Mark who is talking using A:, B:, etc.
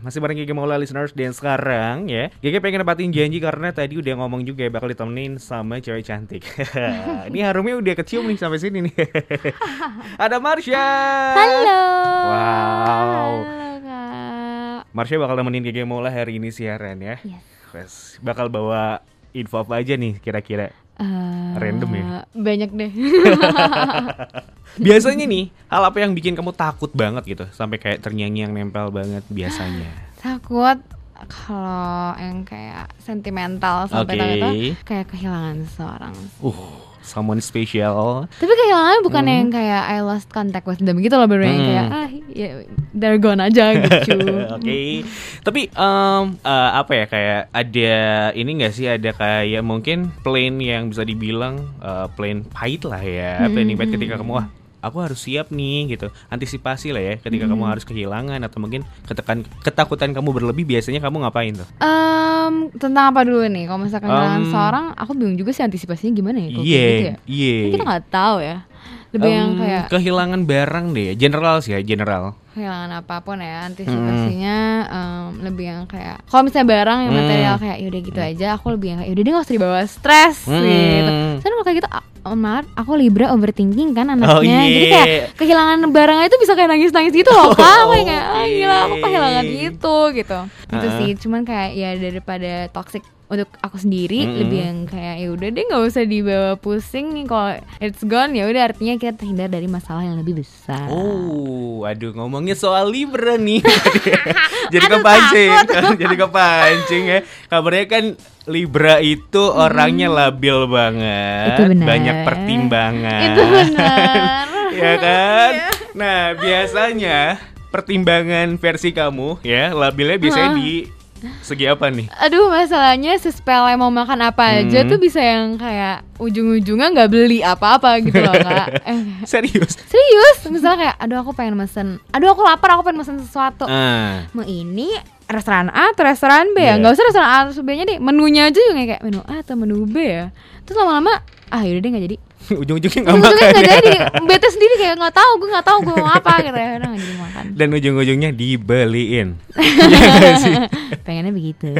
A: masih bareng Gigi Maula listeners dan sekarang ya Gigi pengen nepatin janji karena tadi udah ngomong juga ya bakal ditemenin sama cewek cantik Ini harumnya udah kecium nih sampai sini nih Ada Marsha
B: Halo.
A: Wow.
B: Halo kak.
A: Marsha bakal nemenin Gigi Maula hari ini siaran ya
B: Yes.
A: Wes, Bakal bawa info apa aja nih kira-kira
B: Eh,
A: Random ya?
B: Banyak deh.
A: Biasanya nih hal apa yang bikin kamu takut banget gitu Sampai kayak ternyanyi yang nempel banget biasanya
B: Takut kalau yang kayak sentimental sampai
A: Oke.
B: takut tuh kayak kehilangan seorang.
A: Uh, someone special
B: Tapi kehilangan bukan
A: Hmm.
B: yang kayak I lost contact with them gitu loh baru yang
A: Hmm.
B: kayak ah ya, they're gone aja gitu.
A: Oke, Hmm. tapi em, eh, apa ya kayak ada ini nggak sih ada kayak mungkin plan yang bisa dibilang eh, plan pahit lah ya,
B: Hmm,
A: plan yang pahit
B: hmm,
A: ketika
B: hmm.
A: kamu wah aku harus siap nih gitu, antisipasi lah ya ketika kamu
B: Hmm.
A: harus kehilangan atau mungkin ketekan ketakutan kamu berlebih biasanya kamu ngapain tuh?
B: Em, tentang apa dulu nih? Kalau misalkan kehilangan
A: Em,
B: seorang, aku bingung juga sih antisipasinya gimana ya? Kalau kayak gitu ya?
A: Iya, iya.
B: Kan Kita nggak tahu ya. Lebih yang
A: Em,
B: kayak
A: kehilangan barang deh, general sih ya general.
B: kehilangan apapun ya antisipasinya em, lebih yang kayak kalau misalnya barang yang material
A: Hmm.
B: kayak yaudah gitu aja aku lebih yang kayak yaudah deh gak usah dibawa stres
A: Hmm.
B: gitu soalnya kalau kayak gitu a- Omar aku libra overthinking kan anaknya
A: Oh, iya.
B: jadi kayak kehilangan barang itu bisa kayak nangis nangis gitu loh kak
A: Oh,
B: Aku yang kayak ah, gila aku
A: oke.
B: kehilangan gitu gitu itu
A: Ah.
B: sih cuman kayak ya daripada toxic untuk aku sendiri
A: Mm-mm.
B: lebih yang kayak ya udah deh nggak usah dibawa pusing nih kalau it's gone ya udah artinya kita terhindar dari masalah yang lebih besar
A: Oh, aduh ngomongnya soal Libra nih. jadi
B: Aduh,
A: kepancing, jadi kepancing ya. Kabarnya kan Libra itu orangnya labil banget,
B: Hmm. Itu benar.
A: banyak pertimbangan.
B: Itu benar. Iya.
A: ya kan? Nah, biasanya pertimbangan versi kamu ya, labilnya biasanya di segi apa nih?
B: Aduh masalahnya sespele mau makan apa aja
A: Hmm.
B: tuh bisa yang kayak ujung-ujungnya nggak beli apa-apa gitu loh kak. Eh,
A: Serius.
B: serius, misalnya kayak, aduh aku pengen mesen, aduh aku lapar aku pengen mesen sesuatu.
A: Ah.
B: Mau ini restoran A atau restoran B
A: Iya.
B: ya? Nggak usah restoran A atau B nya deh, menunya aja juga kayak menu A atau menu B ya. Terus lama-lama, ah yaudah deh nggak jadi.
A: Ujung-ujungnya nggak
B: Ujung-ujungnya
A: makan.
B: nggak
A: ya.
B: jadi, bete sendiri kayak nggak tahu, gue nggak tahu gue mau apa gitu ya, udah nggak jadi makan.
A: Dan ujung-ujungnya dibeliin. Iya nggak sih?
B: Pengennya begitu.